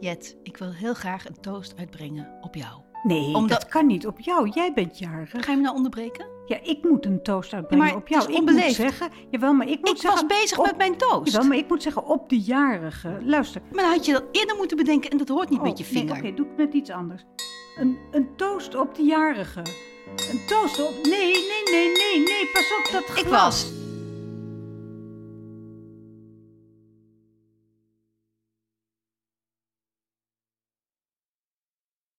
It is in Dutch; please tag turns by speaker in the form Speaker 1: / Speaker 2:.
Speaker 1: Jet, ik wil heel graag een toast uitbrengen op jou.
Speaker 2: Nee,
Speaker 1: Omdat-
Speaker 2: dat kan niet op jou. Jij bent jarig.
Speaker 1: Ga je me nou onderbreken?
Speaker 2: Ja, ik moet een toast uitbrengen
Speaker 1: maar
Speaker 2: op
Speaker 1: het
Speaker 2: jou.
Speaker 1: is
Speaker 2: Ik moet
Speaker 1: onbeleefd.
Speaker 2: zeggen, jawel, maar ik moet
Speaker 1: Ik Oh.
Speaker 2: zeggen...
Speaker 1: was bezig
Speaker 2: op-
Speaker 1: met mijn toast.
Speaker 2: Jawel, maar ik moet zeggen, op de jarige. Luister. Oh,
Speaker 1: Maar dan had je dat eerder moeten bedenken en dat hoort niet met je
Speaker 2: nee,
Speaker 1: vinger.
Speaker 2: Oké, doe ik met iets anders. Een, een toast op de jarige. Een toast op... Nee, nee, nee, nee, nee, pas op dat
Speaker 1: Ik
Speaker 2: glas.
Speaker 1: was